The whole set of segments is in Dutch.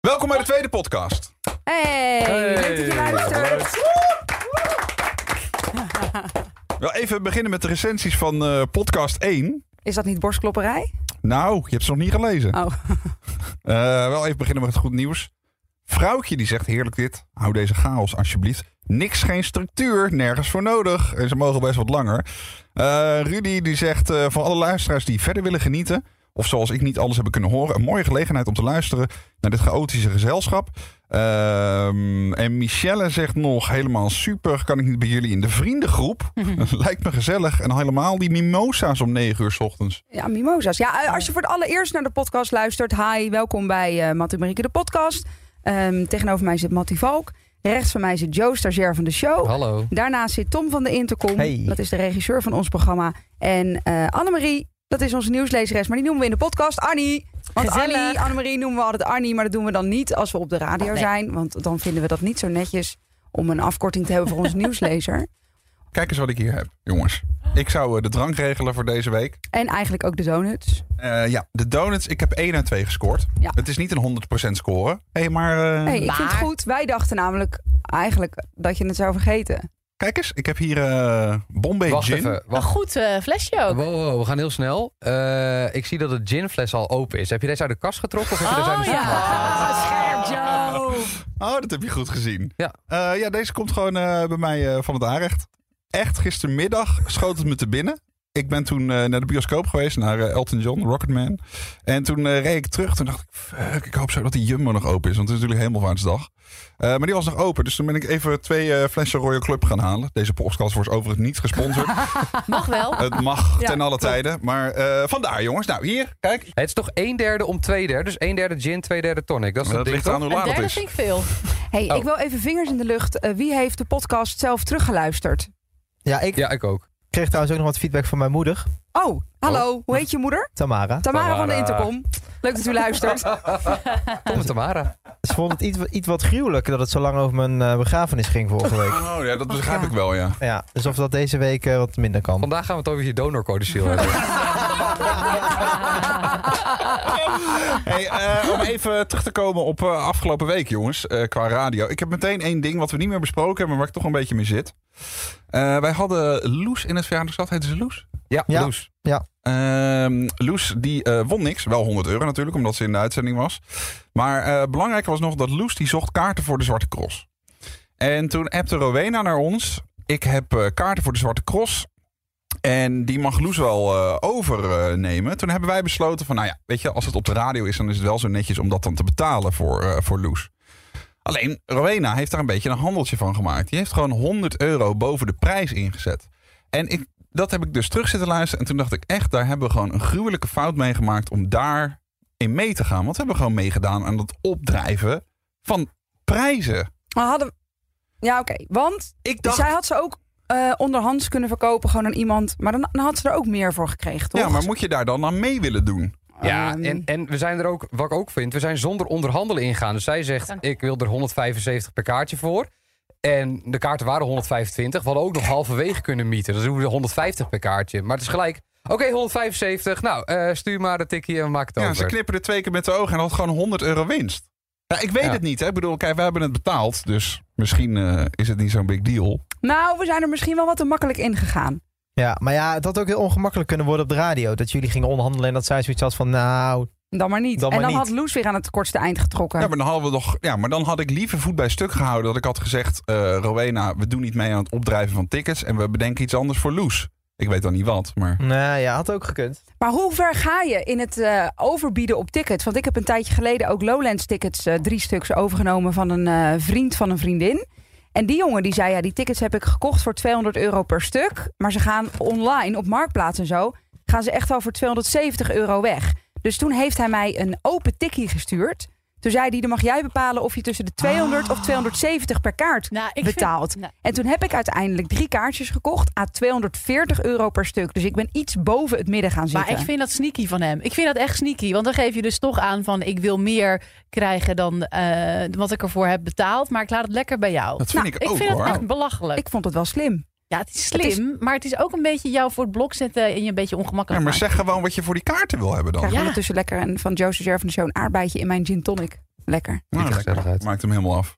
Welkom bij de tweede podcast. Hey, leuk dat je luistert. Wel even beginnen met de recensies van eh, podcast 1. Is dat niet borstklopperij? Nou, je hebt ze nog niet gelezen. Oh, Eh, wel even beginnen met het goed nieuws. Vrouwtje die zegt heerlijk dit. Hou deze chaos alsjeblieft. Niks, geen structuur, nergens voor nodig. En ze mogen best wat langer. Eh, Rudy die zegt eh, voor alle luisteraars die verder willen genieten. Of zoals ik niet alles hebben kunnen horen. Een mooie gelegenheid om te luisteren naar dit chaotische gezelschap. Ehm, en Michelle zegt nog helemaal super. Kan ik niet bij jullie in de vriendengroep? Lijkt me gezellig. En helemaal die mimosa's om 9 uur s ochtends. ja, mimosa's. Ja, eh, als je voor het allereerst naar de podcast luistert. Hi, welkom bij eh Mattie Marieke de podcast. Ehm, tegenover mij zit Mattie Valk. Rechts van mij zit Joe, stagiair van de show. Hallo. Daarnaast zit Tom van de Intercom. Hey. Dat is de regisseur van ons programma. En eh Annemarie, dat is onze nieuwslezeres. Maar die noemen we in de podcast Annie. Want Gezellig. Annie, Annemarie noemen we altijd Annie. Maar dat doen we dan niet als we op de radio Nee. zijn. Want dan vinden we dat niet zo netjes om een afkorting te hebben voor onze nieuwslezer. Kijk eens wat ik hier heb, jongens. Ik zou eh, de drank regelen voor deze week. En eigenlijk ook de donuts. Eh, ja, de donuts. Ik heb 1 uit 2 gescoord. Ja. Het is niet een 100% score. Hé, hey, maar eh, Nee, ik vind het Maar- goed. Wij dachten namelijk eigenlijk dat je het zou vergeten. kijk eens. Ik heb hier eh Bombay Wacht Gin. even. Een Wacht. goed eh, flesje ook. Wow, wow, wow, we gaan heel snel. Eh, ik zie dat de ginfles al open is. Heb je deze uit de kast getrokken of heb je deze Oh, uit de supermarkt gehaald? Ah, scherp Joe. Ah. Oh, dat heb je goed gezien. Ja. Eh, ja, deze komt gewoon eh, bij mij eh, van het aanrecht. Echt, gistermiddag schoot het me te binnen. Ik ben toen eh, naar de bioscoop geweest, naar eh, Elton John, Rocketman. En toen eh, reed ik terug. Toen dacht ik, fuck, ik hoop zo dat die Jumbo nog open is. Want het is natuurlijk hemelvaartsdag. Eh maar die was nog open. Dus toen ben ik even twee eh, flessen Royal Club gaan halen. Deze podcast wordt overigens niet gesponsord. Mag wel. het mag Ja, ten alle tijden. Maar eh, vandaar jongens. Nou, hier, kijk. Het is toch een derde om twee derde. Dus een derde gin, twee derde tonic. Dat is Dat, dat ding ligt eraan toch? hoe Een laat het derde is. vind ik veel. hey, Oh. ik wil even vingers in de lucht. Eh, wie heeft de podcast zelf teruggeluisterd? Ja, ik Ja, ik ook. kreeg trouwens ook nog wat feedback van mijn moeder, Oh, hallo. Hoe heet je moeder? Tamara. Tamara, van de Tamara. Intercom. Leuk dat u luistert. Tom en Tamara. Ze vond het iets, iets wat gruwelijk dat het zo lang over mijn eh, begrafenis ging vorige week. Oh ja, dat begrijp ja. ik wel, ja. Ja, dus of dat deze week eh, wat minder kan. Vandaag gaan we het over je donorcodicil hebben. Hey, eh, om even terug te komen op eh, afgelopen week, jongens, eh, qua radio. Ik heb meteen één ding wat we niet meer besproken hebben, waar ik toch een beetje mee zit. Eh, wij hadden Loes in het verjaardagsstad. Heette ze Loes? Ja, Ja. Loes. Ehm, Loes die eh, won niks. Wel 100 euro natuurlijk, omdat ze in de uitzending was. Maar eh, belangrijker was nog dat Loes die zocht kaarten voor de Zwarte Cross. En toen appte Rowena naar ons. Ik heb eh, kaarten voor de Zwarte Cross. En die mag Loes wel eh, overnemen. Toen hebben wij besloten van, nou ja, weet je, als het op de radio is, dan is het wel zo netjes om dat dan te betalen voor, eh, voor Loes. Alleen, Rowena heeft daar een beetje een handeltje van gemaakt. Die heeft gewoon 100 euro boven de prijs ingezet. En ik, dat heb ik dus terug zitten luisteren. En toen dacht ik echt, daar hebben we gewoon een gruwelijke fout mee gemaakt om daarin mee te gaan. Want we hebben gewoon meegedaan aan het opdrijven van prijzen. We hadden... Ja, oké. Want Ik dacht, zij had ze ook eh, onderhands kunnen verkopen gewoon aan iemand. Maar dan, dan had ze er ook meer voor gekregen, toch? ja, maar moet je daar dan aan mee willen doen? Ja, Ehm, en, en we zijn er ook, wat ik ook vind, we zijn zonder onderhandelen ingaan. Dus zij zegt, Dank. ik wil er 175 per kaartje voor. En de kaarten waren 125. We hadden ook nog halverwege kunnen mieten. Dus dan doen we 150 per kaartje. Maar het is gelijk, oké, 175. Nou, eh, stuur maar een tikkie en maak het Ja, over. ze knipperde twee keer met de ogen en had gewoon 100 euro winst. Ja, ik weet Ja. het niet. Hè? Ik bedoel, kijk, we hebben het betaald. Dus misschien eh, is het niet zo'n big deal. Nou, we zijn er misschien wel wat te makkelijk in gegaan. Ja, maar ja, het had ook heel ongemakkelijk kunnen worden op de radio. Dat jullie gingen onderhandelen en dat zij zoiets had van, nou... Dan maar niet. Dan maar en dan niet. had Loes weer aan het kortste eind getrokken. Ja, maar dan, hadden we nog, ja, maar dan had ik liever voet bij stuk gehouden. Dat ik had gezegd, eh, Rowena, we doen niet mee aan het opdrijven van tickets. En we bedenken iets anders voor Loes. Ik weet dan niet wat, maar... Nou ja, had ook gekund. Maar hoe ver ga je in het eh, overbieden op tickets? Want ik heb een tijdje geleden ook Lowlands tickets, eh, drie stuks, overgenomen van een eh, vriend van een vriendin. En die jongen die zei, ja, die tickets heb ik gekocht voor 200 euro per stuk. Maar ze gaan online, op Marktplaats en zo, gaan ze echt wel voor 270 euro weg. Dus toen heeft hij mij een open tikkie gestuurd. Toen zei hij, dan mag jij bepalen of je tussen de 200 of 270 per kaart Nou, ik vind- betaalt. Nou, En toen heb ik uiteindelijk drie kaartjes gekocht à 240 euro per stuk. Dus ik ben iets boven het midden gaan zitten. maar ik vind dat sneaky van hem. Ik vind dat echt sneaky. Want dan geef je dus toch aan van ik wil meer krijgen dan eh, wat ik ervoor heb betaald. Maar ik laat het lekker bij jou. Dat vind Nou, ik, ik ook vind hoor. dat echt belachelijk. Ik vond het wel slim. ja, het is Het is- slim. Maar het is ook een beetje jou voor het blok zetten en je een beetje Ja, ongemakkelijk maar maken. zeg gewoon wat je voor die kaarten wil hebben dan. Nou, Ik krijg Ja. ondertussen lekker een, van Joseph Jerv van de Show een aardbeidje in mijn gin tonic. Lekker. Nou, Ziet er gezellig uit. Maakt hem helemaal af.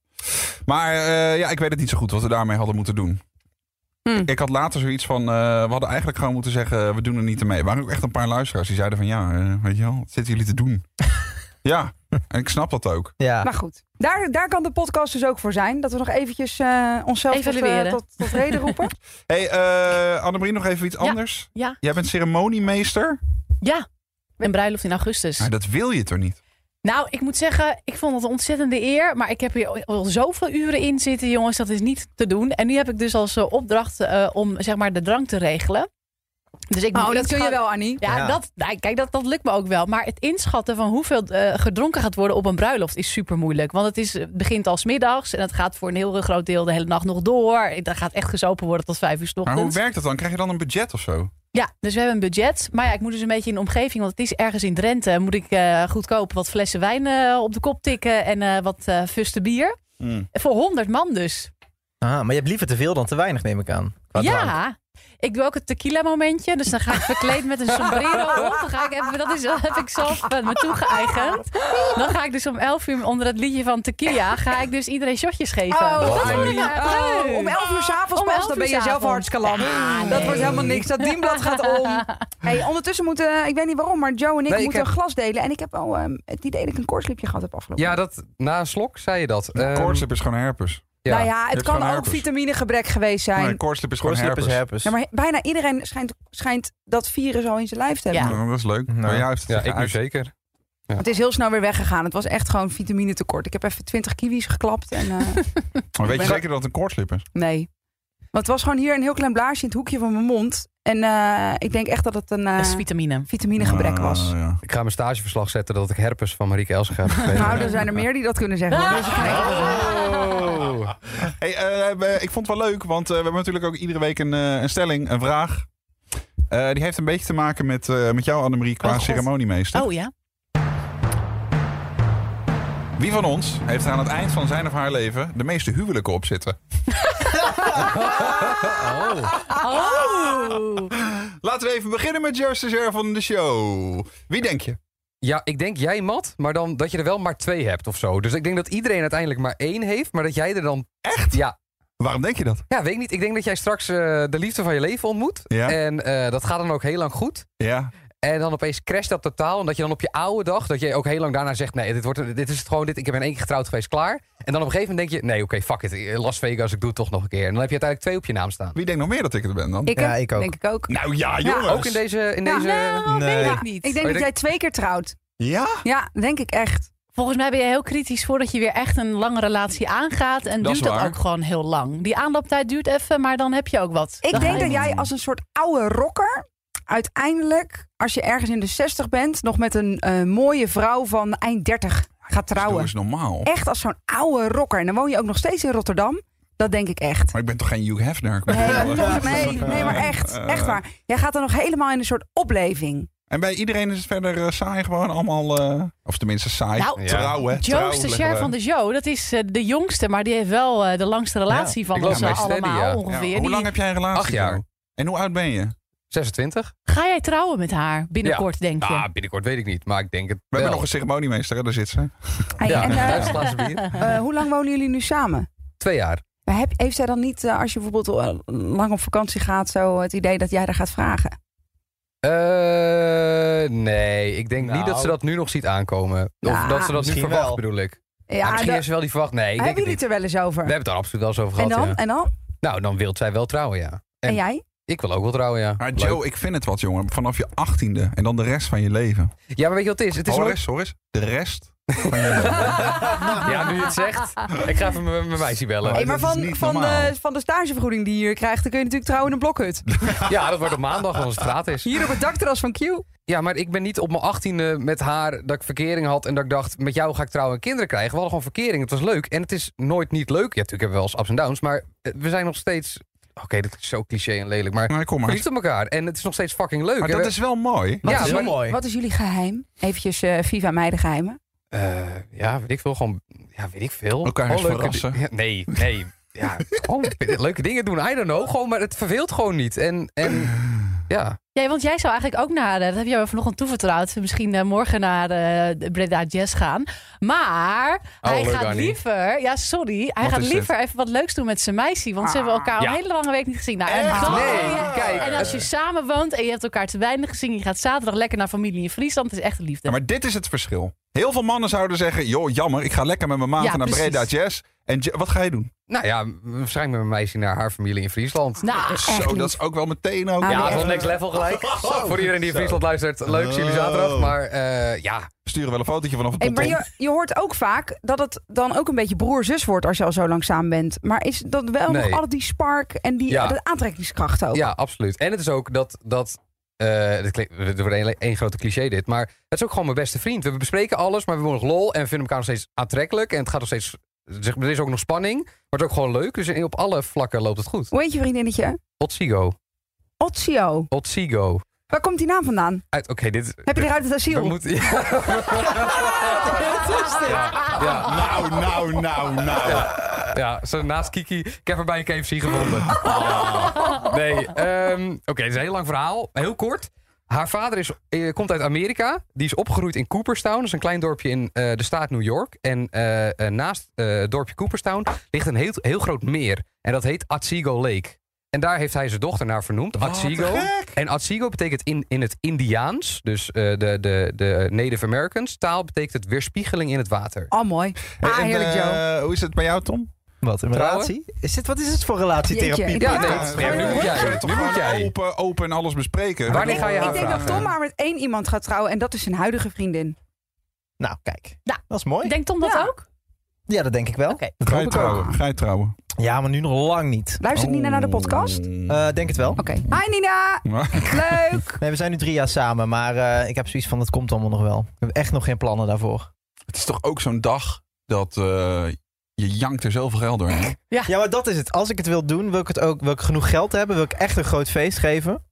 Maar eh, ja, ik weet het niet zo goed wat we daarmee hadden moeten doen. Hm. Ik had later zoiets van, eh, we hadden eigenlijk gewoon moeten zeggen, we doen er niet aan mee. Er waren ook echt een paar luisteraars die zeiden van, ja, eh, weet je wel, wat zitten jullie te doen? ja, en ik snap dat ook. Ja. Maar goed, daar, daar kan de podcast dus ook voor zijn. Dat we nog eventjes eh, onszelf tot, eh, Evalueren. Oh, tot, tot reden roepen. hey, eh Annemarie, nog even iets Ja. anders. Ja. Jij bent ceremoniemeester. Ja, een bruiloft in augustus. Maar dat wil je toch niet? Nou, ik moet zeggen, ik vond het een ontzettende eer. Maar ik heb hier al zoveel uren in zitten, jongens. Dat is niet te doen. En nu heb ik dus als eh, opdracht eh, om zeg maar de drank te regelen. Dus ik moet Oh, dat kun je inschatten- wel, Annie. Ja, Ja. Dat, nou, kijk, dat, dat lukt me ook wel. Maar het inschatten van hoeveel eh, gedronken gaat worden op een bruiloft is super moeilijk. Want het is, het begint al 's middags en het gaat voor een heel groot deel de hele nacht nog door. Er gaat echt gezopen worden tot vijf uur 's Maar hoe ochtends. werkt dat dan? Krijg je dan een budget of zo? Ja, dus we hebben een budget. Maar ja, ik moet dus een beetje in de omgeving, want het is ergens in Drenthe. Moet ik eh, goedkoop wat flessen wijn eh, op de kop tikken en eh, wat eh fuste bier. Hmm. Voor 100 man dus. Ah, maar je hebt liever te veel dan te weinig, neem ik aan. Qua ja. drank. Ik doe ook het tequila momentje. Dus dan ga ik verkleed met een sombrero op. Dan ga ik even, dat, is, dat heb ik zelf eh, me toegeëigend. Dan ga ik dus om 11 uur onder het liedje van tequila... ga ik dus iedereen shotjes geven. Oh, dat vond ik Annie. echt leuk. Oh, om 11 uur s'avonds Om pas, 11 dan uur ben je zelf s'avonds. hartstikke lam. Dat wordt helemaal niks. Dat dienblad gaat om. Hey, ondertussen moeten, ik weet niet waarom, maar Joe en ik Nee, ik moeten heb- een glas delen. En ik heb al ehm, het idee dat ik een koortslipje gehad heb afgelopen. Ja, dat, na een slok zei je dat. Ehm, koortslip is gewoon herpes. ja. Nou ja, hebt het kan gewoon ook herpes. vitaminegebrek geweest zijn. Nee, koortslip is gewoon Koortslip herpes. is herpes. Ja, maar bijna iedereen schijnt, schijnt dat virus al in zijn lijf te hebben. Ja. Nou, dat is leuk. Nou. Maar jij heeft het ja, zich ik nu uit. zeker. Het is heel snel weer weggegaan. Het was echt gewoon vitamine tekort. Ik heb even 20 kiwis geklapt. En, eh, Maar weet je Ik ben- zeker dat het een koortslip is? nee. Want het was gewoon hier een heel klein blaasje in het hoekje van mijn mond. En eh, ik denk echt dat het een eh, Dat is vitamine. vitaminegebrek was. Ah, ja. Ik ga mijn stageverslag zetten dat ik herpes van Marieke Elsinga heb Ah. gekregen. Nou, er zijn er meer die dat kunnen zeggen. hoor. Ah. Dus ik- Oh. Hey, eh, eh, ik vond het wel leuk, want eh, we hebben natuurlijk ook iedere week een, eh, een stelling, een vraag. Eh, die heeft een beetje te maken met, eh, met jou, Annemarie, qua Oh, God. ceremoniemeester. Oh ja? Wie van ons heeft er aan het eind van zijn of haar leven de meeste huwelijken op zitten? Ah, Oh! Laten we even beginnen met Joost de Ger van de show. Wie denk je? Ja, ik denk jij, Matt, maar dan dat je er wel maar twee hebt of zo. Dus ik denk dat iedereen uiteindelijk maar één heeft, maar dat jij er dan... Echt? Ja, Waarom denk je dat? ja weet ik niet. Ik denk dat jij straks eh, de liefde van je leven ontmoet. Ja. En eh, dat gaat dan ook heel lang goed. Ja. En dan opeens crasht dat totaal. En dat je dan op je oude dag, dat je ook heel lang daarna zegt... nee, dit, wordt, dit is het gewoon, dit, ik ben één keer getrouwd geweest, klaar. En dan op een gegeven moment denk je... nee, oké, fuck it, eh, Las Vegas, ik doe het toch nog een keer. En dan heb je uiteindelijk twee op je naam staan. Wie denkt nog meer dat ik het ben dan? Ik, Ja, heb- ik ook. Denk ik ook. Nou ja, Ja, jongens. Ook in deze... In Ja. deze... Eh, Nou, Nee. weet Ja, ik Ik niet. Oh, denk dat je jij denkt- twee keer trouwt. Ja? Ja, denk ik echt. Volgens mij ben je heel kritisch voordat je weer echt een lange relatie aangaat. En Dat is duurt dat waar. ook gewoon heel lang. Die aanlooptijd duurt even, maar dan heb je ook wat. Ik Dan ga denk je dat niet. jij als een soort oude rocker uiteindelijk, als je ergens in de 60 bent, nog met een eh, mooie vrouw van eind 30 gaat Dat trouwen. is normaal. Echt als zo'n oude rocker. En dan woon je ook nog steeds in Rotterdam. Dat denk ik echt. Maar ik ben toch geen Hugh Hefner? Ik ben Nee, wel- Eh, dat- nee, nee, maar eh, echt. Echt waar. Jij gaat dan nog helemaal in een soort opleving. En bij iedereen is het verder eh, saai gewoon allemaal... eh, of tenminste saai. Nou, Trouwen. trouw, hè? Trouw Joost, de leggen share we. van de show, dat is eh, de jongste, maar die heeft wel eh, de langste relatie van ik loop ons bij Steady, allemaal ja. Ja, ongeveer. hoe Die- lang heb jij een relatie? Acht jaar. nou? En hoe oud ben je? 26? Ga jij trouwen met haar binnenkort, denk je? Ah, binnenkort weet ik niet, maar ik denk het We hebben wel. nog een ceremoniemeester, hè? daar zit ze. Hey, Ja, en Ah, eh, thuis glazen bier. eh, hoe lang wonen jullie nu samen? Twee jaar. Maar Heb, heeft zij dan niet, eh, als je bijvoorbeeld eh, lang op vakantie gaat, zo het idee dat jij daar gaat vragen? Eh, nee, ik denk Nou. niet dat ze dat nu nog ziet aankomen. Of Nou, dat ze dat nu misschien verwacht, wel. bedoel ik. Ja, Ja, misschien dat- heeft ze wel die verwacht. Nee, ik denk hebben het jullie het niet. er wel eens over? We hebben het er absoluut wel eens over en gehad, dan? ja. En dan? Nou, dan wil zij wel trouwen, ja. En- En jij? Ik wil ook wel trouwen, ja. Maar Leuk. Joe, ik vind het wat, jongen. Vanaf je achttiende en dan de rest van je leven. Ja, maar weet je wat het is? Het is hoor, nooit... eens, hoor eens. De rest van je leven. Ja, nu je het zegt. Ik ga even mijn mijn meisje Hey, bellen. Hey, maar dat is van, niet van, normaal. de, van de stagevergoeding die je hier krijgt, dan kun je natuurlijk trouwen in een blokhut. Ja, dat wordt op maandag, want het gratis. Hier op het dakterras van Q. Ja, maar ik ben niet op mijn achttiende met haar dat ik verkering had... en dat ik dacht, met jou ga ik trouwen en kinderen krijgen. We hadden gewoon verkering, het was leuk. En het is nooit niet leuk. Ja, natuurlijk hebben we wel eens ups en downs, maar eh, we zijn nog steeds... Oké, dat is zo cliché en lelijk, maar... Maar kom maar. Verliefd op elkaar. En het is nog steeds fucking leuk. Maar En dat we- is wel mooi. Ja, is maar- heel mooi. Wat is jullie geheim? Eventjes eh Viva meiden geheimen. Eh, ja, weet ik veel. Gewoon, ja, weet ik veel. Elkaar Gewoon eens leuke di- verrassen. Ja, nee, nee. Ja, gewoon leuke dingen doen. I don't know. Gewoon, maar het verveelt gewoon niet. En, en ja, Ja, want jij zou eigenlijk ook naar, eh, dat heb je me vanochtend toevertrouwd, misschien eh, morgen naar eh, de Breda Jazz gaan. Maar hij leuk, gaat Annie. liever, ja sorry, hij Oh, Wat gaat is liever even wat leuks doen met zijn meisje. Want ze hebben Ah. elkaar Ja. al een hele lange week niet gezien. Nou, en Echt? dan- Nee, kijk. En Eh. als je samen woont en je hebt elkaar te weinig gezien, je gaat zaterdag lekker naar familie in Friesland, het is echt liefde. Ja, maar dit is het verschil. Heel veel mannen zouden zeggen: joh, jammer, ik ga lekker met mijn maat Ja, naar precies. Breda Jazz. En Ja- wat ga je doen? Nou ja, waarschijnlijk met een meisje naar haar familie in Friesland. Nou, echt Zo, lief. dat is ook wel meteen ook. Ah, nee, Ja, dat echt. is next level gelijk. Voor iedereen die in Friesland luistert, leuk, zie jullie Oh. zaterdag. Maar eh, ja, We sturen wel een fotootje vanaf het Hey, ponton. maar je, je hoort ook vaak dat het dan ook een beetje broer-zus wordt als je al zo lang samen bent. Maar is dat wel Nee. nog altijd die spark en die Ja. de aantrekkingskracht ook? ja, absoluut. En het is ook dat... dat eh dat klinkt- het wordt één- één grote cliché dit, maar het is ook gewoon mijn beste vriend. We bespreken alles, maar we hebben nog lol en we vinden elkaar nog steeds aantrekkelijk. En het gaat nog steeds, zeg, maar, er is ook nog spanning, maar het is ook gewoon leuk. Dus op alle vlakken loopt het goed. Hoe heet je vriendinnetje? Otsigo. Otsio. Otsigo. Waar komt die naam vandaan? Uit- Oké, dit... Heb je eruit het asiel? We moeten... Ja. Ja, ja, Nou, nou, nou, nou. ja, zo naast Kiki. Ik heb er bij een KFC gevonden. Oh. Nee, ehm, oké, het is een heel lang verhaal. Heel kort. Haar vader is, eh, komt uit Amerika. Die is opgegroeid in Cooperstown. Dat is een klein dorpje in eh, de staat New York. En eh, eh, naast eh, het dorpje Cooperstown ligt een heel, heel groot meer. En dat heet Otsego Lake. En daar heeft hij zijn dochter naar vernoemd, Otsego. En Otsego betekent in, in het Indiaans, dus eh, de, de, de Native Americans taal, betekent het weerspiegeling in het water. Oh, mooi. Ah, En, eh, heerlijk, Joe. Hoe is het bij jou, Tom? Wat, een Trouwen? relatie? Is dit, wat is het voor relatietherapie? Jeetje, ik Ja, Ja, nee, ja, het is- ja, eh, ja, nu moet jij. Nu moet Gewoon jij. Open, open en alles bespreken. Wanneer ga je haar Ik denk dat vragen? Tom maar met één iemand gaat trouwen en dat is zijn huidige vriendin. Nou, kijk. Ja. Dat is mooi. Denkt Tom dat Ja. ook? Ja, dat denk ik wel. Oké. Dat Ga je hoop ik ook. trouwen? Ga je trouwen? Ja, maar nu nog lang niet. Luistert Nina Oh. naar de podcast? Oh. Eh, denk het wel. Oké. Hi Nina! Leuk! Nee, we zijn nu drie jaar samen, maar eh, ik heb zoiets van, dat komt allemaal nog wel. Ik heb echt nog geen plannen daarvoor. Het is toch ook zo'n dag dat eh, je jankt er zoveel geld doorheen. Ja, maar dat is het. Als ik het wil doen, wil ik het ook, wil ik genoeg geld hebben, wil ik echt een groot feest geven.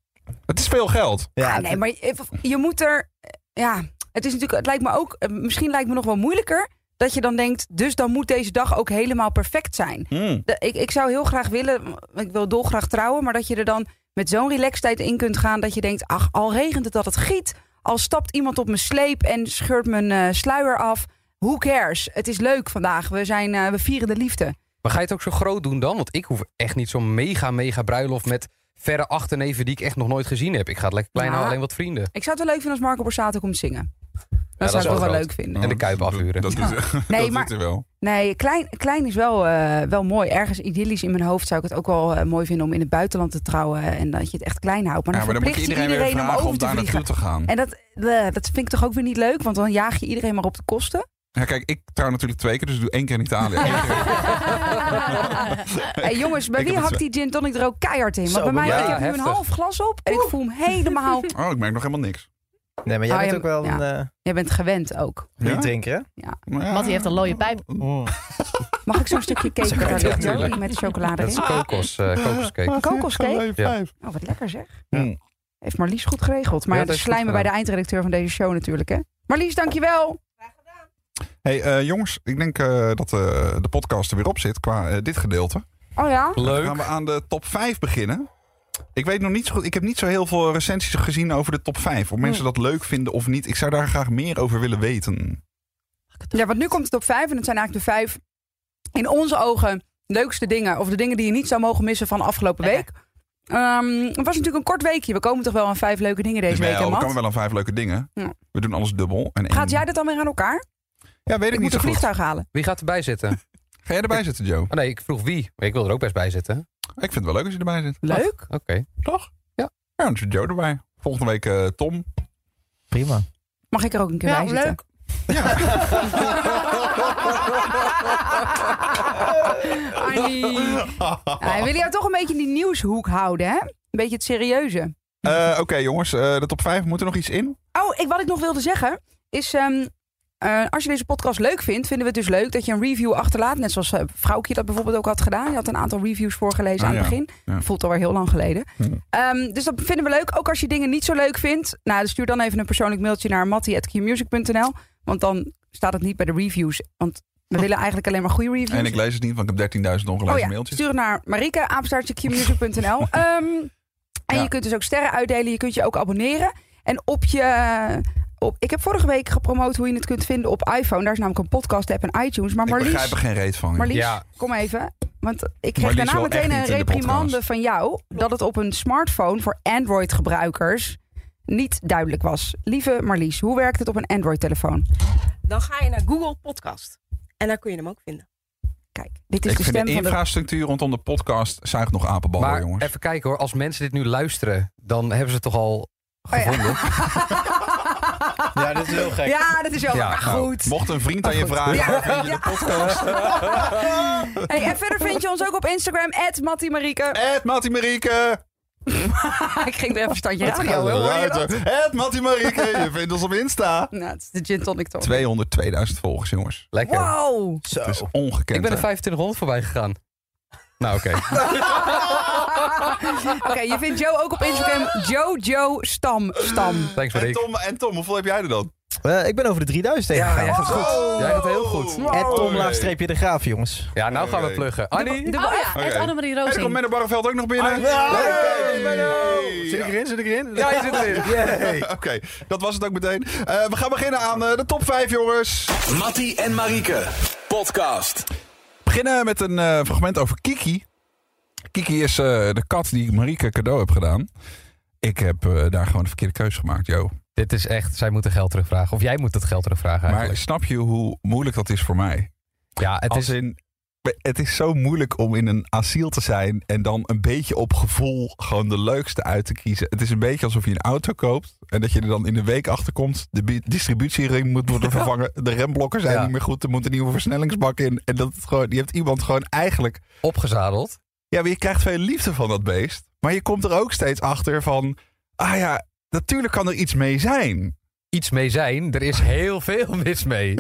het is veel geld. Ja, Ah, nee, maar je, je moet er... Ja, het is natuurlijk... Het lijkt me ook... eh, Misschien lijkt me nog wel moeilijker dat je dan denkt... Dus dan moet deze dag ook helemaal perfect zijn. Hmm. De- ik, ik zou heel graag willen... Ik wil dolgraag trouwen, maar dat je er dan met zo'n relaxtijd in kunt gaan... dat je denkt, ach, al regent het dat het giet... al stapt iemand op mijn sleep en scheurt mijn eh, sluier af... Who cares? Het is leuk vandaag. We, zijn, eh, we vieren de liefde. Maar ga je het ook zo groot doen dan? Want ik hoef echt niet zo'n mega, mega bruiloft met verre achterneven die ik echt nog nooit gezien heb. Ik ga het lekker klein Ja. houden, alleen wat vrienden. Ik zou het wel leuk vinden als Marco Borsato komt zingen. Dat dat zou is ik wel, wel wel groot. leuk vinden. En de Kuip Nou, Dat- afhuren. Dat, doet- Nee, dat maar- doet er wel. Nee, klein, klein is wel, eh, wel mooi. Ergens idyllisch in mijn hoofd zou ik het ook wel eh, mooi vinden om in het buitenland te trouwen. En dat je het echt klein houdt. Maar dan, Ja, maar dan moet verplicht je je iedereen, iedereen, weer om vragen over om te daar vliegen. naartoe te gaan. En dat, eh, dat vind ik toch ook weer niet leuk, want dan jaag je iedereen maar op de kosten. Ja, kijk, ik trouw natuurlijk twee keer, dus ik doe één keer in Italië. Eén keer- Hey, jongens, bij Ik wie heb het hakt die gin tonic er ook keihard in? Zo, Want bij mij, ja, ik heb nu heftig. een half glas op en ik voel hem helemaal... Oh, ik merk nog helemaal niks. nee, maar jij Ah, bent ja, ook wel een eh Jij bent gewend ook. Ja? drinker, hè? Maar ja, Mattie heeft een looie pijp. Mag ik zo'n stukje cake Ja, eruit doen, tuurlijk. Joey, met chocolade Dat is erin? kokos, eh, kokoscake. Kokoscake? Ja. Oh, wat lekker zeg. Mm. Heeft Marlies goed geregeld. Maar Ja, ja, dat de is goed slijmen bij de eindredacteur van deze show natuurlijk, hè? Marlies, dankjewel. Hey, eh, jongens, ik denk eh, dat eh, de podcast er weer op zit qua eh, dit gedeelte. Oh ja? Dan gaan Leuk. we aan de top 5 beginnen. Ik weet nog niet zo goed. Ik heb niet zo heel veel recensies gezien over de top 5. Of mensen Hmm. dat leuk vinden of niet. Ik zou daar graag meer over willen weten. Ja, want nu komt het op vijf. En het zijn eigenlijk de vijf, in onze ogen, leukste dingen. Of de dingen die je niet zou mogen missen van afgelopen week. Ehm, het was natuurlijk een kort weekje. We komen toch wel aan vijf leuke dingen deze Dus week, wel, hè, we Matt? komen wel aan vijf leuke dingen. Ja. We doen alles dubbel. En één- Gaat jij dat dan weer aan elkaar? Ik, Ja, weet ik, moet niet zo een goed. vliegtuig halen. Wie gaat erbij zitten? Ga jij erbij zitten, Joe? Oh, nee, ik vroeg wie. Maar ik wil er ook best bij zitten. Ik vind het wel leuk als je erbij zit. Leuk. Oké. Toch? Ja. Ja, dan zit Joe erbij. Volgende week eh, Tom. Prima. Mag ik er ook een keer bij zitten? Arnie. Ja, we willen jou toch een beetje in die nieuwshoek houden, hè? Een beetje het serieuze. Eh, Oké, jongens. eh, de top 5. Moet er nog iets in? Oh, ik, wat ik nog wilde zeggen is... ehm, eh, als je deze podcast leuk vindt, vinden we het dus leuk dat je een review achterlaat. Net zoals eh, Vrouwkje dat bijvoorbeeld ook had gedaan. Je had een aantal reviews voorgelezen Ah, aan het ja. begin. Ja. Voelt alweer heel lang geleden. Hm. Ehm, dus dat vinden we leuk. Ook als je dingen niet zo leuk vindt. Nou, dan stuur dan even een persoonlijk mailtje naar mattie.qmusic.nl. Want dan staat het niet bij de reviews. Want we willen eigenlijk alleen maar goede reviews. Oh. En ik lees het niet, want ik heb 13.000 ongelezen Oh ja, mailtjes. stuur het naar marike, apenstaartje, qmusic.nl. Ehm, En Ja. je kunt dus ook sterren uitdelen. Je kunt je ook abonneren. En op je... Op, ik heb vorige week gepromoot hoe je het kunt vinden op iPhone. Daar is namelijk een podcast app en iTunes. Maar Ik Marlies, begrijp er geen reet van. joh. Marlies Ja. kom even. Want ik kreeg Marlies daarna wil echt meteen een niet in de reprimande podcast. van jou... dat het op een smartphone voor Android-gebruikers niet duidelijk was. Lieve Marlies, hoe werkt het op een Android-telefoon? Dan ga je naar Google Podcast. En daar kun je hem ook vinden. Kijk, dit is ik de vind stem de van de infrastructuur rondom de podcast zuigt nog apenballen, maar jongens. even kijken hoor, als mensen dit nu luisteren, dan hebben ze het toch al Oh, ja. gevonden. Ja, dat is heel gek. Ja, dat is wel Ja, maar Nou, goed. Oh, mocht een vriend aan je goed. vragen, Ja. waar vind je Ja. de podcast? Hey, en verder vind je ons ook op Instagram, Marieke. Ed Mattie Marieke. Ah, Ik ging er even een standje Het radio. gaat hoor. Hoor je dat? eruit. Ed Mattie Marieke, je vindt ons op Insta. Nou, het is de gin tonic toch. 202.000 volgers, jongens. Lekker. Wow. Zo. Het is ongekend. Ik ben er hè? 2500 voorbij gegaan. Nou oké. Oké, je vindt Joe ook op Instagram. Jojo Stam Stam. Thanks en, Marie. Tom, en Tom, hoeveel heb jij er dan? Eh, ik ben over de 3000 heen gegaan. jij gaat goed. Oh. Jij gaat heel goed. Wow. En Tom Oké. laagstreepje de graaf, jongens. Ja, nou gaan we pluggen. Annie? Oh ja, het Oké. Annemarie En er komt Roosing. Menno Barreveld ook nog Ah, binnen. Ja. Hey. Zit ik erin? Zit ik erin? Ja, je zit erin. Oké, dat was het ook meteen. Eh, we gaan beginnen aan eh, de top 5, jongens. Mattie en Marieke. Podcast. beginnen met een eh, fragment over Kiki. Kiki is eh, de kat die ik Marieke cadeau heb gedaan. Ik heb eh, daar gewoon de verkeerde keuze gemaakt, joh. Dit is echt, zij moeten geld terugvragen. Of jij moet het geld terugvragen Maar eigenlijk. snap je hoe moeilijk dat is voor mij? ja, het Als is, in, het is zo moeilijk om in een asiel te zijn en dan een beetje op gevoel gewoon de leukste uit te kiezen. Het is een beetje alsof je een auto koopt en dat je er dan in een week achter komt. De bi- distributiering moet worden vervangen, de remblokken zijn Ja. niet meer goed, er moet een nieuwe versnellingsbak in. En dat het gewoon, je hebt iemand gewoon eigenlijk opgezadeld. Ja, maar je krijgt veel liefde van dat beest. Maar je komt er ook steeds achter van... Ah ja, natuurlijk kan er iets mee zijn. Iets mee zijn, er is heel veel mis mee.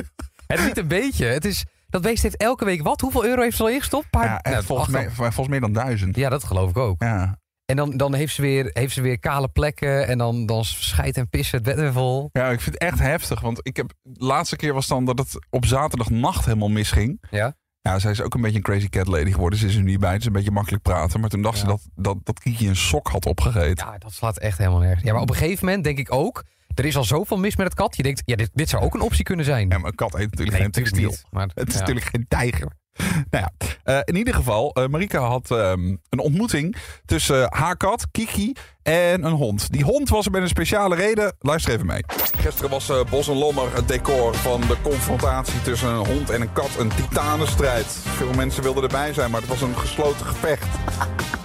Het is niet een beetje. Het is, dat beest heeft elke week wat? Hoeveel euro heeft ze al ingestopt? Paar, Ja, echt, Nou, volgens, acht- mij, volgens meer dan duizend. ja, dat geloof ik ook. Ja. En dan, dan heeft, ze weer, heeft ze weer kale plekken. En dan, dan scheidt en pissen het bed weer vol. ja, ik vind het echt heftig. Want ik heb, de laatste keer was dan dat het op zaterdagnacht helemaal misging. Ja. Ja, zij is ook een beetje een crazy cat lady geworden. Ze is er niet bij, het is een beetje makkelijk praten. Maar toen dacht ze Ja. dat, dat, dat Kiki een sok had opgegeten. Ja, dat slaat echt helemaal nergens. Ja, maar op een gegeven moment denk ik ook... Er is al zoveel mis met het kat. Je denkt, ja, dit, dit zou ook een optie kunnen zijn. Ja, maar een kat eet natuurlijk Nee, geen natuurlijk textiel. niet, Maar, Het is ja. natuurlijk geen tijger. Nou ja, eh, in ieder geval, eh Marika had ehm, een ontmoeting tussen eh, haar kat, Kiki, en een hond. Die hond was er met een speciale reden. Luister even mee. Gisteren was eh, Bos en Lommer het decor van de confrontatie tussen een hond en een kat. Een titanenstrijd. Veel mensen wilden erbij zijn, maar het was een gesloten gevecht.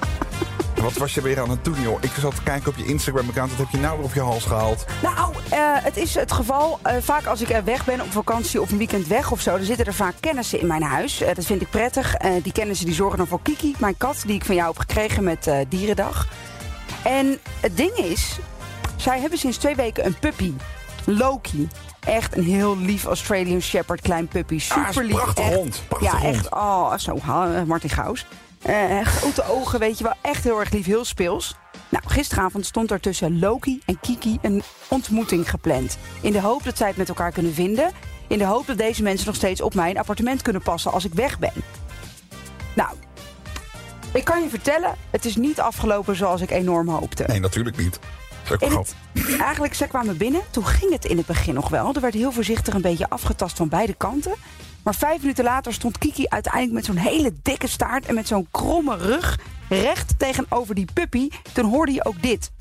Wat was je weer aan het doen, joh? Ik zat te kijken op je Instagram-account. Wat heb je nou weer op je hals gehaald? Nou, eh, het is het geval. eh, vaak als ik eh, weg ben op vakantie of een weekend weg of zo, dan zitten er vaak kennissen in mijn huis. Eh, dat vind ik prettig. Eh, die kennissen die zorgen dan voor Kiki, mijn kat, die ik van jou heb gekregen met eh, Dierendag. En het ding is, zij hebben sinds twee weken een puppy, Loki. Echt een heel lief Australian Shepherd klein puppy. Ah, is Super een lief. prachtige hond. Prachtige Ja, hond. echt. Oh, zo, ha, eh, Martin Gaus. Eh, grote ogen, weet je wel. Echt heel erg lief, heel speels. Nou, gisteravond stond er tussen Loki en Kiki een ontmoeting gepland. In de hoop dat zij het met elkaar kunnen vinden. In de hoop dat deze mensen nog steeds op mijn appartement kunnen passen als ik weg ben. Nou, ik kan je vertellen, het is niet afgelopen zoals ik enorm hoopte. Nee, natuurlijk niet. Dat is ook een En grap. het, eigenlijk, ze kwamen binnen. Toen ging het in het begin nog wel. Er werd heel voorzichtig een beetje afgetast van beide kanten. Maar vijf minuten later stond Kiki uiteindelijk met zo'n hele dikke staart... en met zo'n kromme rug recht tegenover die puppy. Toen hoorde je ook dit.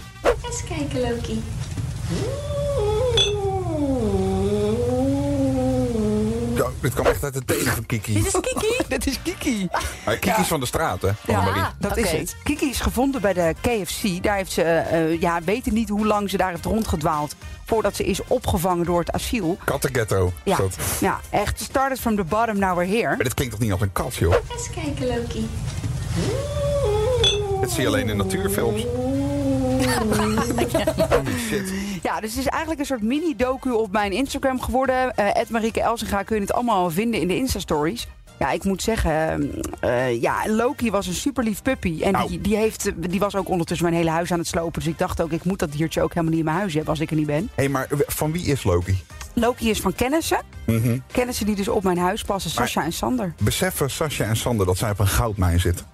Eens kijken, Loki. Ja, dit kwam echt uit de tenen van Kiki. Dit is Kiki. Dit is Kiki. Maar Kiki is van de straat, hè? Ja. Annemarie. Dat Oké. is het. Kiki is gevonden bij de KFC. Daar heeft ze, eh, ja, weten niet hoe lang ze daar heeft rondgedwaald... voordat ze is opgevangen door het asiel. Kattenghetto. Ja, Is dat. ja echt. Started from the bottom, now we're here. Maar dit klinkt toch niet als een kat, joh? Eens kijken, Loki. Dit zie je alleen in natuurfilms. Holy shit. Ja, dus het is eigenlijk een soort mini-docu op mijn Instagram geworden. Eh Marieke Elsinga kun je het allemaal vinden in de Insta-stories. Ja, ik moet zeggen, eh, eh, ja, Loki was een superlief puppy. En die, Au. die, heeft, eh, die was ook ondertussen mijn hele huis aan het slopen. Dus ik dacht ook, ik moet dat diertje ook helemaal niet in mijn huis hebben als ik er niet ben. Hé, maar van wie is Loki? Loki is van kennissen. Mhm. Kennissen die dus op mijn huis passen, Sascha en Sander. Beseffen Sascha en Sander dat zij op een goudmijn zitten.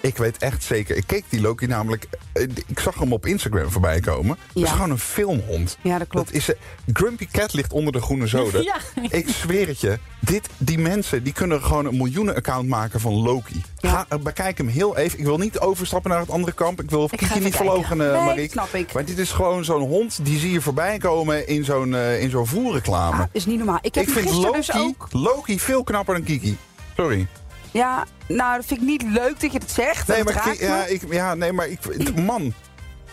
Ik weet echt zeker. Ik keek die Loki namelijk. eh, Ik zag hem op Instagram voorbij komen. Dat is Ja. gewoon een filmhond. Ja, dat klopt. Dat is, eh, Grumpy Cat ligt onder de groene zoden. Ja. Ik zweer het je. Dit, die mensen die kunnen gewoon een miljoenen-account maken van Loki. Ga, eh, bekijk hem heel even. Ik wil niet overstappen naar het andere kamp. Ik wil Ik ga Kiki even niet kijken. verlogen, eh Nee, Mariek. snap ik. Maar dit is gewoon zo'n hond. Die zie je voorbij komen in zo'n eh, in zo'n voerreclame. Ah, is niet normaal. Ik heb ik hem vind gisteren Loki, dus ook... Loki veel knapper dan Kiki. Sorry. Ja, nou, dat vind ik niet leuk dat je dat zegt. Nee, dat maar, raakt ik, ja, me. ik, ja, nee, maar ik, man, ik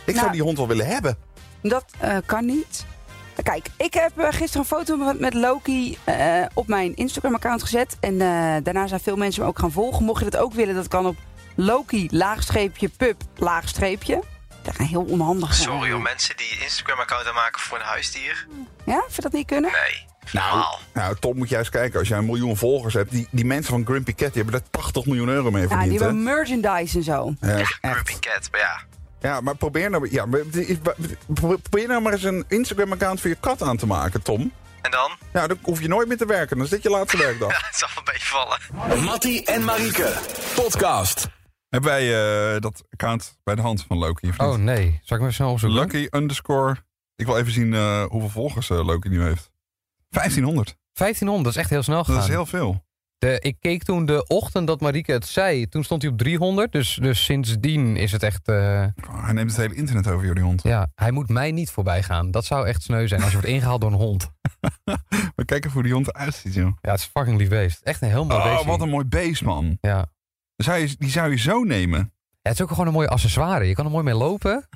zou Nou. die hond wel willen hebben. Dat eh, kan niet. Kijk, ik heb eh, gisteren een foto met- met Loki eh, op mijn Instagram-account gezet. En eh, daarna zijn veel mensen me ook gaan volgen. Mocht je dat ook willen, dat kan op Loki, laagstreepje, pub, laagstreepje. Dat is heel onhandig. hè. Sorry om mensen die Instagram-account aanmaken voor een huisdier. Ja, vind je dat niet kunnen? Nee. Nou, Normaal. nou, Tom moet juist kijken. Als jij een miljoen volgers hebt, die, die mensen van Grumpy Cat, die hebben daar 80 miljoen euro mee ja, die verdiend. hè? Oh, hebben merchandise en zo. Ja, Ja, is echt. Grumpy Cat, maar ja. Ja, maar probeer nou, ja, maar het is- pro- probeer nou maar eens een Instagram-account voor je kat aan te maken, Tom. En dan? Nou, dan hoef je nooit meer te werken. Dan is dit je laatste werkdag. Ja, het zal wel een beetje vallen. Mattie en Marieke, podcast. Hebben wij eh, dat account bij de hand van Loki? Of niet? Oh nee, zal ik me even snel opzoeken? Lucky underscore. Ik wil even zien eh, hoeveel volgers eh, Loki nu heeft. 1500. 1500, dat is echt heel snel gegaan. Dat is heel veel. De- ik keek toen de ochtend dat Marieke het zei, toen stond hij op 300. Dus, dus sindsdien is het echt... eh, Oh, hij neemt het hele internet over, jullie hond. ja, hij moet mij niet voorbij gaan. Dat zou echt sneu zijn als je wordt ingehaald door een hond. We kijken hoe die hond eruit ziet, joh. Ja, het is een fucking lief beest. Echt een heel mooi Oh, beestje. wat een mooi beest, man. Ja. Zou je, die zou je zo nemen. Ja, Het is ook gewoon een mooi accessoire. Je kan er mooi mee lopen.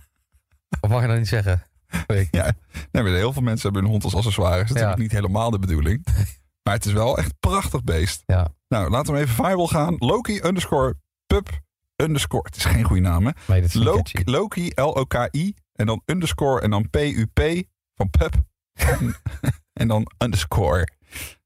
Of mag je dat niet zeggen? Weet ik. Ja, nee, maar heel veel mensen hebben hun hond als accessoire. Dat is natuurlijk Ja. niet helemaal de bedoeling. Maar het is wel echt een prachtig beest. Ja. Nou, laten we even viral gaan. Loki underscore pub underscore. Het is geen goede naam, hè? Nee, dit is niet Loki, catchy. Loki L-O-K-I. En dan underscore en dan P-U-P van pub. en dan underscore.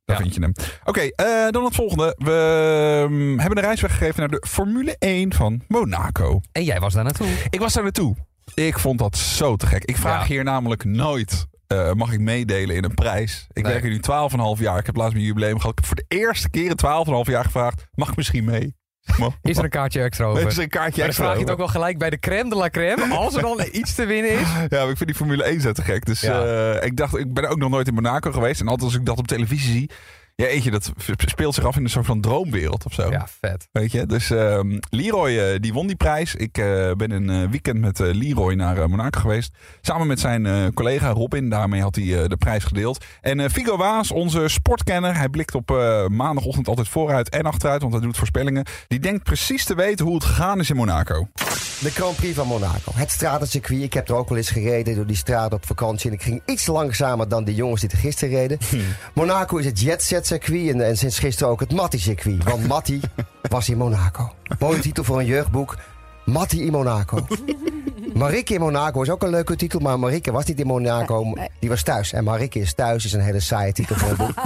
Daar Ja. vind je hem. Oké, eh, dan het volgende. We mm, hebben een reis weggegeven naar de Formule 1 van Monaco. En jij was daar naartoe. Ik was daar naartoe. Ik vond dat zo te gek. Ik vraag Ja. hier namelijk nooit. eh, mag ik meedelen in een prijs? Ik Nee. werk hier nu 12,5 jaar. Ik heb laatst mijn jubileum gehad. Ik heb voor de eerste keer in 12,5 jaar gevraagd. Mag ik misschien mee? Mag- Is er een kaartje extra over? Is er een kaartje Maar dan extra vraag je het over? ook wel gelijk bij de crème de la crème. Als er dan iets te winnen is. Ja, maar ik vind die Formule 1 zo te gek. Dus Ja. eh, ik dacht, ik ben ook nog nooit in Monaco geweest. En altijd als ik dat op televisie zie, ja, eentje, dat speelt zich af in een soort van droomwereld of zo. Ja, vet. Weet je, dus ehm, Leroy eh, die won die prijs. Ik eh, ben een eh, weekend met eh, Leroy naar eh, Monaco geweest. Samen met zijn eh, collega Robin, daarmee had hij eh, de prijs gedeeld. En eh Figo Waas, onze sportkenner, hij blikt op eh, maandagochtend altijd vooruit en achteruit, want hij doet voorspellingen. Die denkt precies te weten hoe het gegaan is in Monaco. De Grand Prix van Monaco. Het stratencircuit. Ik heb er ook wel eens gereden door die straat op vakantie. En ik ging iets langzamer dan de jongens die er gisteren reden. Monaco is het jetset circuit. En, en sinds gisteren ook het Matti-circuit. Want Matti was in Monaco. Mooie titel voor een jeugdboek. Matti in Monaco. Marieke in Monaco is ook een leuke titel. Maar Marieke was niet in Monaco. Die was thuis. En Marieke is thuis is een hele saaie titel voor een boek.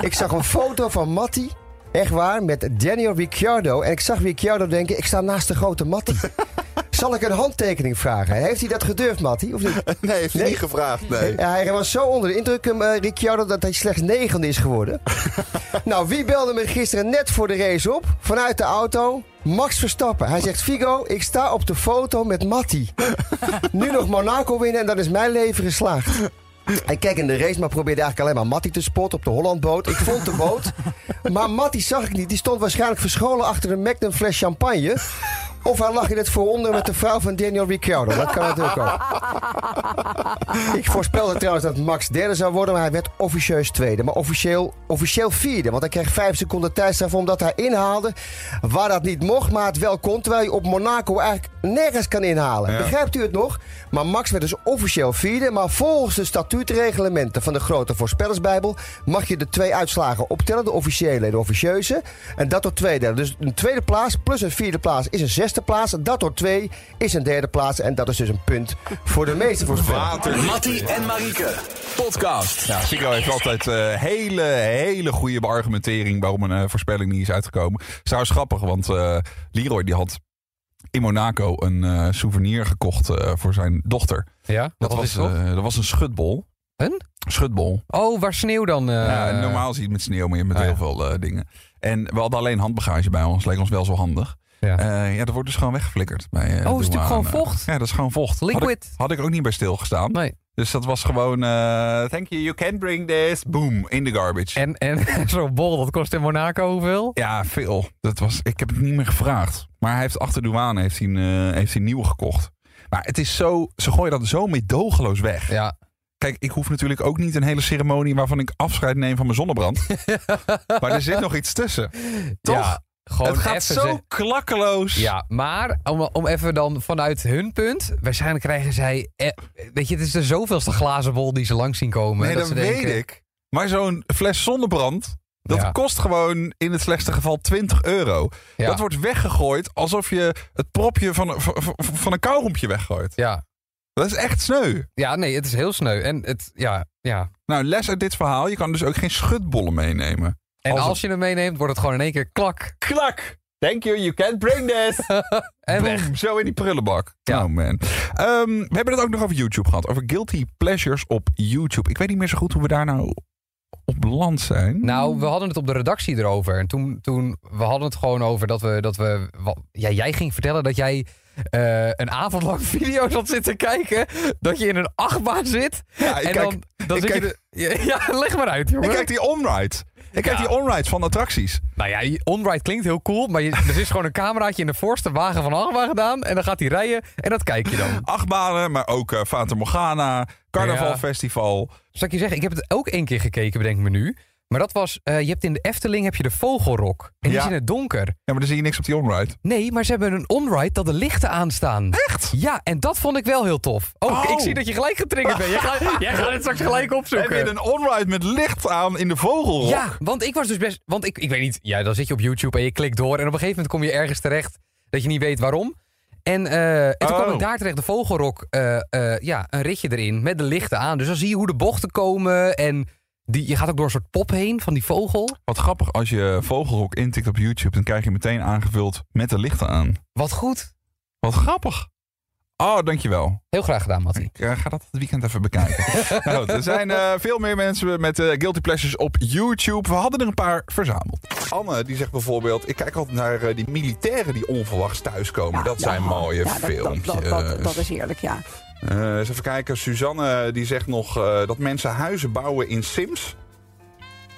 Ik zag een foto van Matti. Echt waar, met Daniel Ricciardo. En ik zag Ricciardo denken, ik sta naast de grote Matti. Zal ik een handtekening vragen? Heeft hij dat gedurfd, Matti? Of niet? Nee, heeft hij niet gevraagd. Ja, Hij was zo onder de indruk, hem, eh, Ricciardo, dat hij slechts negende is geworden. nou, wie belde me gisteren net voor de race op? Vanuit de auto. Max Verstappen. Hij zegt, Figo, ik sta op de foto met Matti. nu nog Monaco winnen en dan is mijn leven geslaagd. Hij keek in de race, maar probeerde eigenlijk alleen maar Matti te spotten op de Hollandboot. Ik vond de boot, maar Matti zag ik niet. Die stond waarschijnlijk verscholen achter een Magnum fles champagne. Of hij lag in het vooronder met de vrouw van Daniel Ricciardo. Dat kan natuurlijk ook. Ik voorspelde trouwens dat Max derde zou worden, maar hij werd officieus tweede. Maar officieel, officieel vierde, want hij kreeg vijf seconden tijdstraf omdat hij inhaalde waar dat niet mocht, maar het wel kon. Terwijl je op Monaco eigenlijk nergens kan inhalen. Ja. Begrijpt u het nog? Maar Max werd dus officieel vierde. Maar volgens de statuutreglementen van de grote voorspellersbijbel mag je de twee uitslagen optellen. De officiële en de officieuze. En dat door twee derde. Dus een tweede plaats plus een vierde plaats is een zesde plaats. Dat door twee is een derde plaats. En dat is dus een punt voor de meeste voorspellers. Mattie en Marieke, podcast. Ja, Sico heeft altijd eh, hele, hele goede beargumentering waarom een eh, voorspelling niet is uitgekomen. Het is trouwens grappig, want eh, Leroy die had in Monaco een eh, souvenir gekocht eh, voor zijn dochter. Ja, wat Dat was was, het toch? eh, dat was een schutbol. Een? Schutbol. Oh, waar sneeuw dan? eh, ja, normaal zie je het met sneeuw, maar je hebt met ah, heel ja. veel eh, dingen. En we hadden alleen handbagage bij ons. Leek ons wel zo handig. Ja. Eh, ja, dat wordt dus gewoon weggeflikkerd. Bij, eh, de Oh, is natuurlijk douane. gewoon vocht. Ja, dat is gewoon vocht. Had ik- Liquid. Had ik, ook niet bij stilgestaan. Nee. Dus dat was gewoon, eh, thank you, you can bring this, boom, in the garbage. En, en zo'n bol, dat kost in Monaco hoeveel? Ja, veel. Dat was, ik heb het niet meer gevraagd. Maar hij heeft achter de douane heeft hij een, eh, heeft hij een nieuwe gekocht. Maar het is zo, ze gooien dat zo meedogenloos weg. Ja. Kijk, ik hoef natuurlijk ook niet een hele ceremonie waarvan ik afscheid neem van mijn zonnebrand. maar er zit nog iets tussen. Toch? Ja, gewoon het gaat even zo ze- klakkeloos. Ja, maar om, om even dan vanuit hun punt. Waarschijnlijk krijgen zij. eh, weet je, het is de zoveelste glazen bol die ze langs zien komen. nee, dat, ze weet denken, ik. Maar zo'n fles zonnebrand, dat Ja. kost gewoon in het slechtste geval 20 euro. Ja, Dat wordt weggegooid alsof je het propje van, een- van, van- van een kauwrompje weggooit. ja. Dat is echt sneu. ja, nee, het is heel sneu. En het, ja, ja. Nou, les uit dit verhaal. Je kan dus ook geen schutbollen meenemen. En Als als, het- je hem meeneemt, wordt het gewoon in één keer klak. Klak! Thank you, you can't bring this. En Boem, zo in die prullenbak. Ja. Oh man. Ehm, we hebben het ook nog over YouTube gehad. Over guilty pleasures op YouTube. Ik weet niet meer zo goed hoe we daar nou op land zijn. Nou, we hadden het op de redactie erover. En toen, toen we hadden het gewoon over dat we. Dat we wa- ja, jij ging vertellen dat jij eh, een avond lang video's had zitten kijken. Dat je in een achtbaan zit. Ja, ik en kijk- dan, dan ik zit kijk- je. de- ja, leg maar uit, jongen. ik kijk die onrides. Ik kijk Ja. die onrides van attracties. Nou ja, onride klinkt heel cool, maar je, er is gewoon een cameraatje in de voorste wagen van de achtbaan gedaan. En dan gaat hij rijden en dat kijk je dan. Achtbanen, maar ook eh Fata Morgana, Carnavalfestival. Zal ik je zeggen, ik heb het ook één keer gekeken, bedenk me nu. Maar dat was, eh, je hebt in de Efteling heb je de vogelrok. En die Ja. is in het donker. Ja, maar dan zie je niks op die onride. Nee, maar ze hebben een onride dat de lichten aanstaan. Echt? Ja, en dat vond ik wel heel tof. Oh, Oh. ik zie dat je gelijk getriggerd bent. Jij gaat, jij gaat het straks gelijk Heb opzoeken. je een onride met licht aan in de vogelrok? Ja, want ik was dus best. Want ik, ik weet niet. Ja, dan zit je op YouTube en je klikt door. En op een gegeven moment kom je ergens terecht dat je niet weet waarom. En, eh, en toen Oh. kwam ik daar terecht, de Vogelrok. eh, eh, ja, een ritje erin met de lichten aan. Dus dan zie je hoe de bochten komen. En die, je gaat ook door een soort pop heen van die vogel. Wat grappig, als je vogelrok intikt op YouTube, dan krijg je meteen aangevuld met de lichten aan. Wat goed. Wat grappig. Oh, dankjewel. Heel graag gedaan, Mattie. Ik eh, ga dat het weekend even bekijken. nou, goed, er zijn eh, veel meer mensen met eh, guilty pleasures op YouTube. We hadden er een paar verzameld. Anne die zegt bijvoorbeeld, ik kijk altijd naar eh, die militairen die onverwachts thuiskomen. Ja, dat ja, zijn mooie ja, dat- dat- filmpjes. dat- dat- Dat is heerlijk, ja. Eh, eens even kijken, Suzanne die zegt nog eh, dat mensen huizen bouwen in Sims.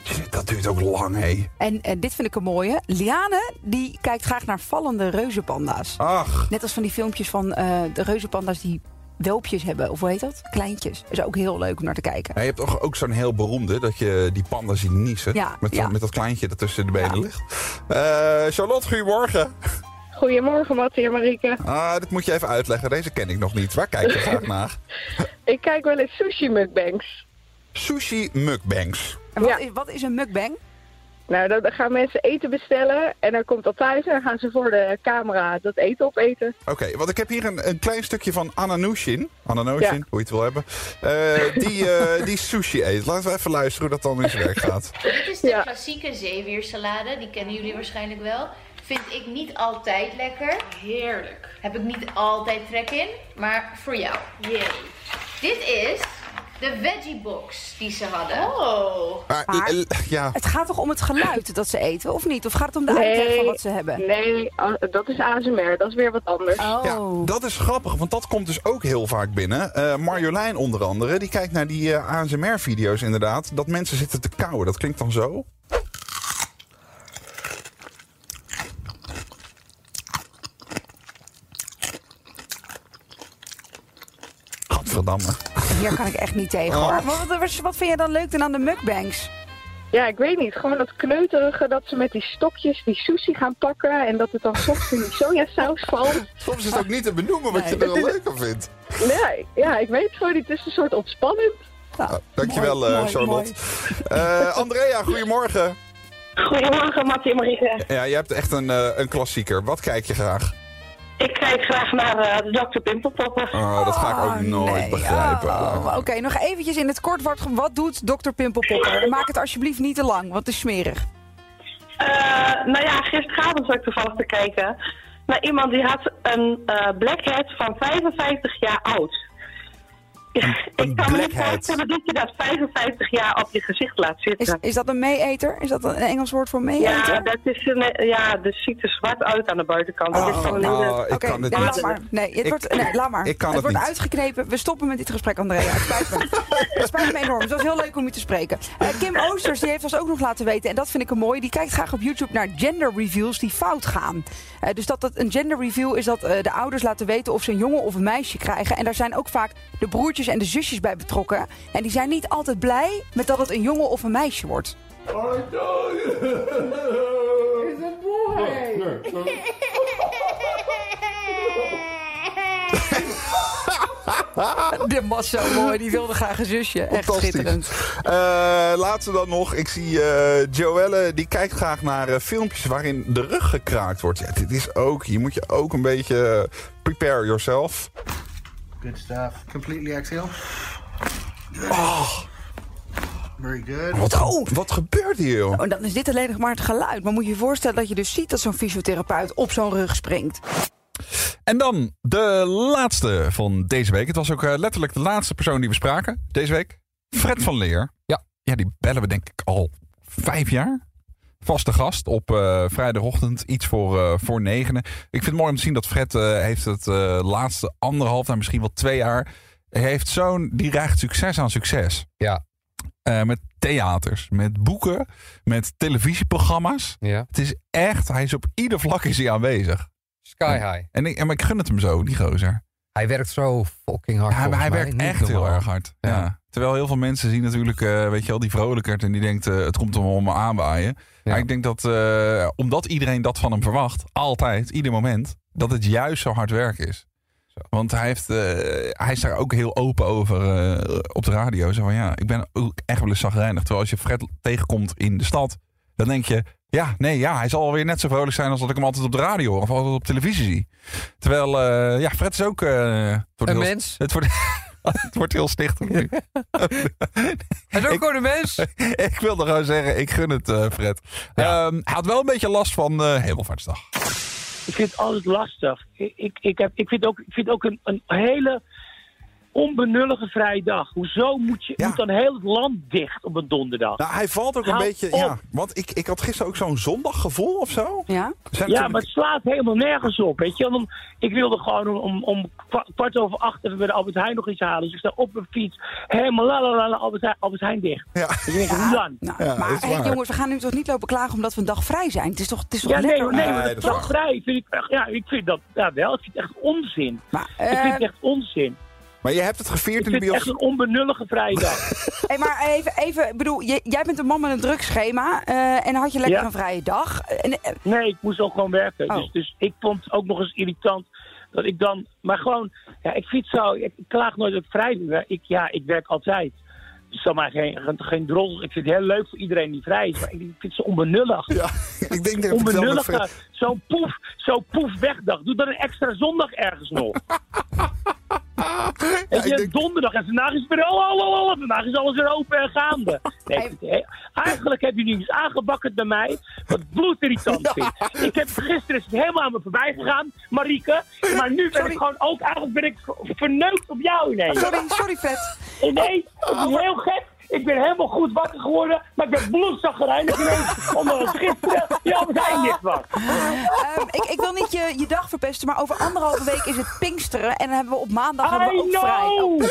Shit, Dat duurt ook lang, hé. En eh, dit vind ik een mooie. Liane, die kijkt graag naar vallende reuzenpanda's. Ach, Net als van die filmpjes van eh, de reuzenpanda's die welpjes hebben. Of hoe heet dat? Kleintjes. Is ook heel leuk om naar te kijken. Ja, je hebt toch ook zo'n heel beroemde, dat je die panda ziet niezen. Ja, met, ja. met dat kleintje dat tussen de benen Ja. ligt. Eh, Charlotte, goedemorgen. Goedemorgen, Mattie en Marieke. Ah, dit moet je even uitleggen, deze ken ik nog niet. Waar kijk je graag naar? Ik kijk wel eens sushi mukbangs. Sushi mukbangs. En wat, Ja. is, wat is een mukbang? Nou, dan dan gaan mensen eten bestellen en dan komt dat thuis en dan gaan ze voor de camera dat eten opeten. Oké, want ik heb hier een, een klein stukje van Ananushin. Ananushin, Ja. hoe je het wil hebben. Eh, die, eh, die sushi eet. Laten we even luisteren hoe dat dan in zijn werk gaat. Dit is de Ja. klassieke zeewiersalade. Die kennen jullie waarschijnlijk wel. Vind ik niet altijd lekker. Heerlijk. Heb ik niet altijd trek in, maar voor jou. Dit is de veggie box die ze hadden. Oh. Maar, Maar- eh, eh, ja, Het gaat toch om het geluid dat ze eten, of niet? Of gaat het om de Nee. uitleg van wat ze hebben? Nee, a- dat is ASMR, dat is weer wat anders. Oh. ja, dat is grappig, want dat komt dus ook heel vaak binnen. Eh, Marjolein onder andere, die kijkt naar die eh, ASMR-video's inderdaad. Dat mensen zitten te kauwen. Dat klinkt dan zo. Gadverdamme. Hier kan ik echt niet tegen Oh. hoor. Wat, wat, wat vind jij dan leuk dan aan de mukbangs? Ja, ik weet niet, gewoon dat kneuterige dat ze met die stokjes die sushi gaan pakken en dat het dan soms in die sojasaus valt. Soms is het ook niet te benoemen wat je er Nee. wel leuk aan vindt. Nee, ja, ik weet het gewoon niet, het is een soort ontspannend. Nou, Dankjewel, mooi, eh, mooi, Charlotte. Eh, Andrea, goedemorgen. Goedemorgen, Mattie en Marieke. Ja, je hebt echt een, eh, een klassieker. Wat kijk je graag? Ik kijk graag naar eh, de Dr. Pimpelpoppen. Oh, dat ga ik ook Oh, nooit nee. begrijpen. Oh, Oké, nog eventjes in het kort. Wat, wat doet dokter Pimpelpopper? Maak het alsjeblieft niet te lang, want het is smerig. Eh, nou ja, gisteravond zat ik toevallig te kijken naar iemand die had een eh blackhead van 55 jaar oud. Ik kan me niet blackhead. voorstellen dat je dat 55 jaar op je gezicht laat Is, zitten. is dat een meeeter? Is dat een Engels woord voor meeeter? ja, dat is een, ja, dat ziet er zwart uit aan de buitenkant. Dat is Oh, toch niet- oh, ik Oké, kan dit nee, niet. laat maar. Nee, het Ik- wordt, nee, laat maar. ik kan het het wordt niet. uitgeknepen. We stoppen met dit gesprek, Andrea. Het spijt me. het spijt me enorm. Het was heel leuk om je te spreken. Eh, Kim Oosters die heeft ons ook nog laten weten, en dat vind ik een mooi. Die kijkt graag op YouTube naar gender reveals die fout gaan. Eh, dus dat, dat een gender reveal is dat eh, de ouders laten weten of ze een jongen of een meisje krijgen. En daar zijn ook vaak de broertjes en de zusjes bij betrokken. En die zijn niet altijd blij met dat het een jongen of een meisje wordt. It's a boy. Dit was zo mooi. Die wilde graag een zusje. Echt Fantastisch. schitterend. Eh, laatste dan nog. Ik zie eh, Joelle, die kijkt graag naar eh, filmpjes waarin de rug gekraakt wordt. Ja, dit is ook, je moet je ook een beetje eh, prepare yourself. Good stuff. Completely exhale. Very good. Wat, wat gebeurt hier, joh? Oh, dan is dit alleen nog maar het geluid. Maar moet je je voorstellen dat je dus ziet dat zo'n fysiotherapeut op zo'n rug springt. En dan de laatste van deze week. Het was ook eh, letterlijk de laatste persoon die we spraken deze week. Fred van Leer. Ja. Ja, die bellen we denk ik al vijf jaar. Vaste gast op eh, vrijdagochtend, iets voor, eh, voor negenen. Ik vind het mooi om te zien dat Fred eh, heeft het eh, laatste anderhalf, nou misschien wel twee jaar... Hij heeft zo'n, die reigt succes aan succes. Ja. Eh, met theaters, met boeken, met televisieprogramma's. Ja. Het is echt, hij is op ieder vlak is hij aanwezig. Sky high. En ik, en maar ik gun het hem zo, die gozer. Hij werkt zo fucking hard. Ja, maar volgens hij mij. werkt Niet echt heel normaal. erg hard. Ja. Ja. Terwijl heel veel mensen zien natuurlijk, eh, weet je wel, die vrolijkert en die denkt, eh, het komt hem om me aanwaaien. Maar ik denk dat, eh, omdat iedereen dat van hem verwacht, altijd, ieder moment, dat het juist zo hard werk is. Want hij, heeft, eh, hij is daar ook heel open over eh, op de radio. Zo van ja, ik ben ook echt wel eens zagrijnig. Terwijl als je Fred tegenkomt in de stad, dan denk je... Ja, nee, ja, hij zal weer net zo vrolijk zijn als dat ik hem altijd op de radio hoor of altijd op televisie zie. Terwijl, eh, ja, Fred is ook... eh, het wordt Een heel- mens. Het wordt, het wordt heel stichtelijk nu. Hij is ook gewoon een mens. ik wilde gewoon zeggen, ik gun het eh, Fred. Ehm, hij had wel een beetje last van eh Hemelvaartsdag. Ik vind het altijd lastig. Ik, ik, ik, heb, ik vind ook, ik vind ook een, een hele onbenullige vrije dag. Hoezo moet, je, moet dan heel het land dicht op een donderdag? Nou, hij valt ook een Hou beetje... op. Ja, want ik, ik had gisteren ook zo'n zondaggevoel of zo. Zijn Ja? ja, natuurlijk- maar het slaat helemaal nergens op. Weet je? Want om- ik wilde gewoon om, om, om kwa- kwart over acht even bij de Albert Heijn nog iets halen. Dus ik sta op mijn fiets, helemaal la la la la, Albert Heijn, Albert Heijn dicht. Ja. Dus ik denk, hoe dan? Nou, maar hey, jongens, we gaan nu toch niet lopen klagen omdat we een dag vrij zijn? Het is toch, het is toch Ja, nee, lekker? hoor, nee, maar dat is vrij. Vind ik, echt- ja, ik vind dat ja, wel. Ik vind het echt onzin. eh, ik vind Eh, het echt onzin. Maar je hebt het gevierd in de bios. Het is echt een onbenullige vrije dag. Hey, maar even, even, ik bedoel, j- jij bent een man met een druk schema eh, en had je lekker Ja. een vrije dag. En, eh, nee, ik moest ook gewoon werken. Oh. Dus, dus ik vond het ook nog eens irritant dat ik dan... Maar gewoon, ja, ik fiets zo... Ik ik klaag nooit op vrijdag. Ik, ja, ik werk altijd. Dus dan maar geen, geen, geen drol. Ik vind het heel leuk voor iedereen die vrij is. Maar ik vind het zo onbenullig. Ja, ik denk dat ik het wel met Onbenullige, Fred- zo'n poef, zo'n poef wegdag. Doe dan een extra zondag ergens nog. Weet je, donderdag en vandaag is het weer, oh, oh, oh, oh, vandaag is alles weer open en gaande. Nee, ik vind het he- eigenlijk heb je nu iets aangebakkerd bij mij, wat bloedirritant vindt. Ik heb gisteren is het helemaal aan me voorbij gegaan, Marieke, maar nu ben ik gewoon ook, eigenlijk ben ik ver- verneukt op jou ineens. Sorry, sorry Fred. Ineens, het is heel gek. Ik ben helemaal goed wakker geworden, maar ik ben bloedzaggerijnig ineens, omdat het gisteren jouw zijn dicht was. Ehm, ik, ik wil niet je, je dag verpesten, maar over anderhalve week is het Pinksteren en dan hebben we op maandag hebben we I ook vrij. Oh. know!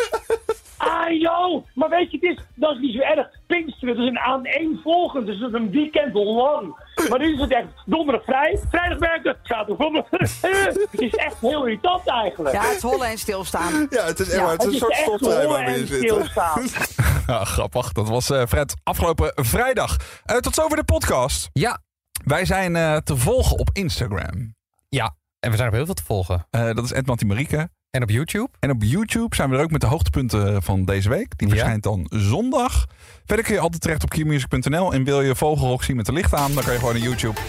I know! Maar weet je, het is, dat is niet zo erg. Pinksteren, dat is een aaneenvolgend, dus dat is een weekend lang. Maar nu is het echt donderdag vrij, vrijdag werken, zaterdag zondag. Het is echt heel irritant eigenlijk. Ja, het is hollen en stilstaan. Ja, het is echt waar. Het is een soort echt stoptrein waar hollen we in en zitten. stilstaan. Ja, grappig. Dat was eh, Fred afgelopen vrijdag. Eh, tot zover de podcast. Ja. Wij zijn eh, te volgen op Instagram. Eh, Ja, en we zijn op heel veel te volgen. dat is Edmant Marieke. En op YouTube. En op YouTube zijn we er ook met de hoogtepunten van deze week. Die verschijnt dan zondag. Verder kun je altijd terecht op keymusic.nl. En wil je Vogelrok zien met de licht aan, dan kan je gewoon naar YouTube.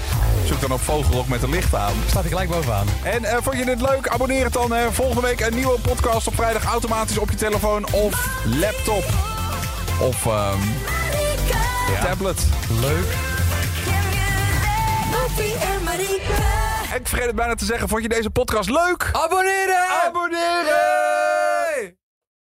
Zoek dan op Vogelrok met de licht aan. Staat hij gelijk bovenaan. En eh, vond je dit leuk? Abonneer het dan. eh, volgende week een nieuwe podcast op vrijdag automatisch op je telefoon of laptop. Of ehm, tablet. Leuk. Ik vergeet het bijna te zeggen. Vond je deze podcast leuk? Abonneren! Abonneren!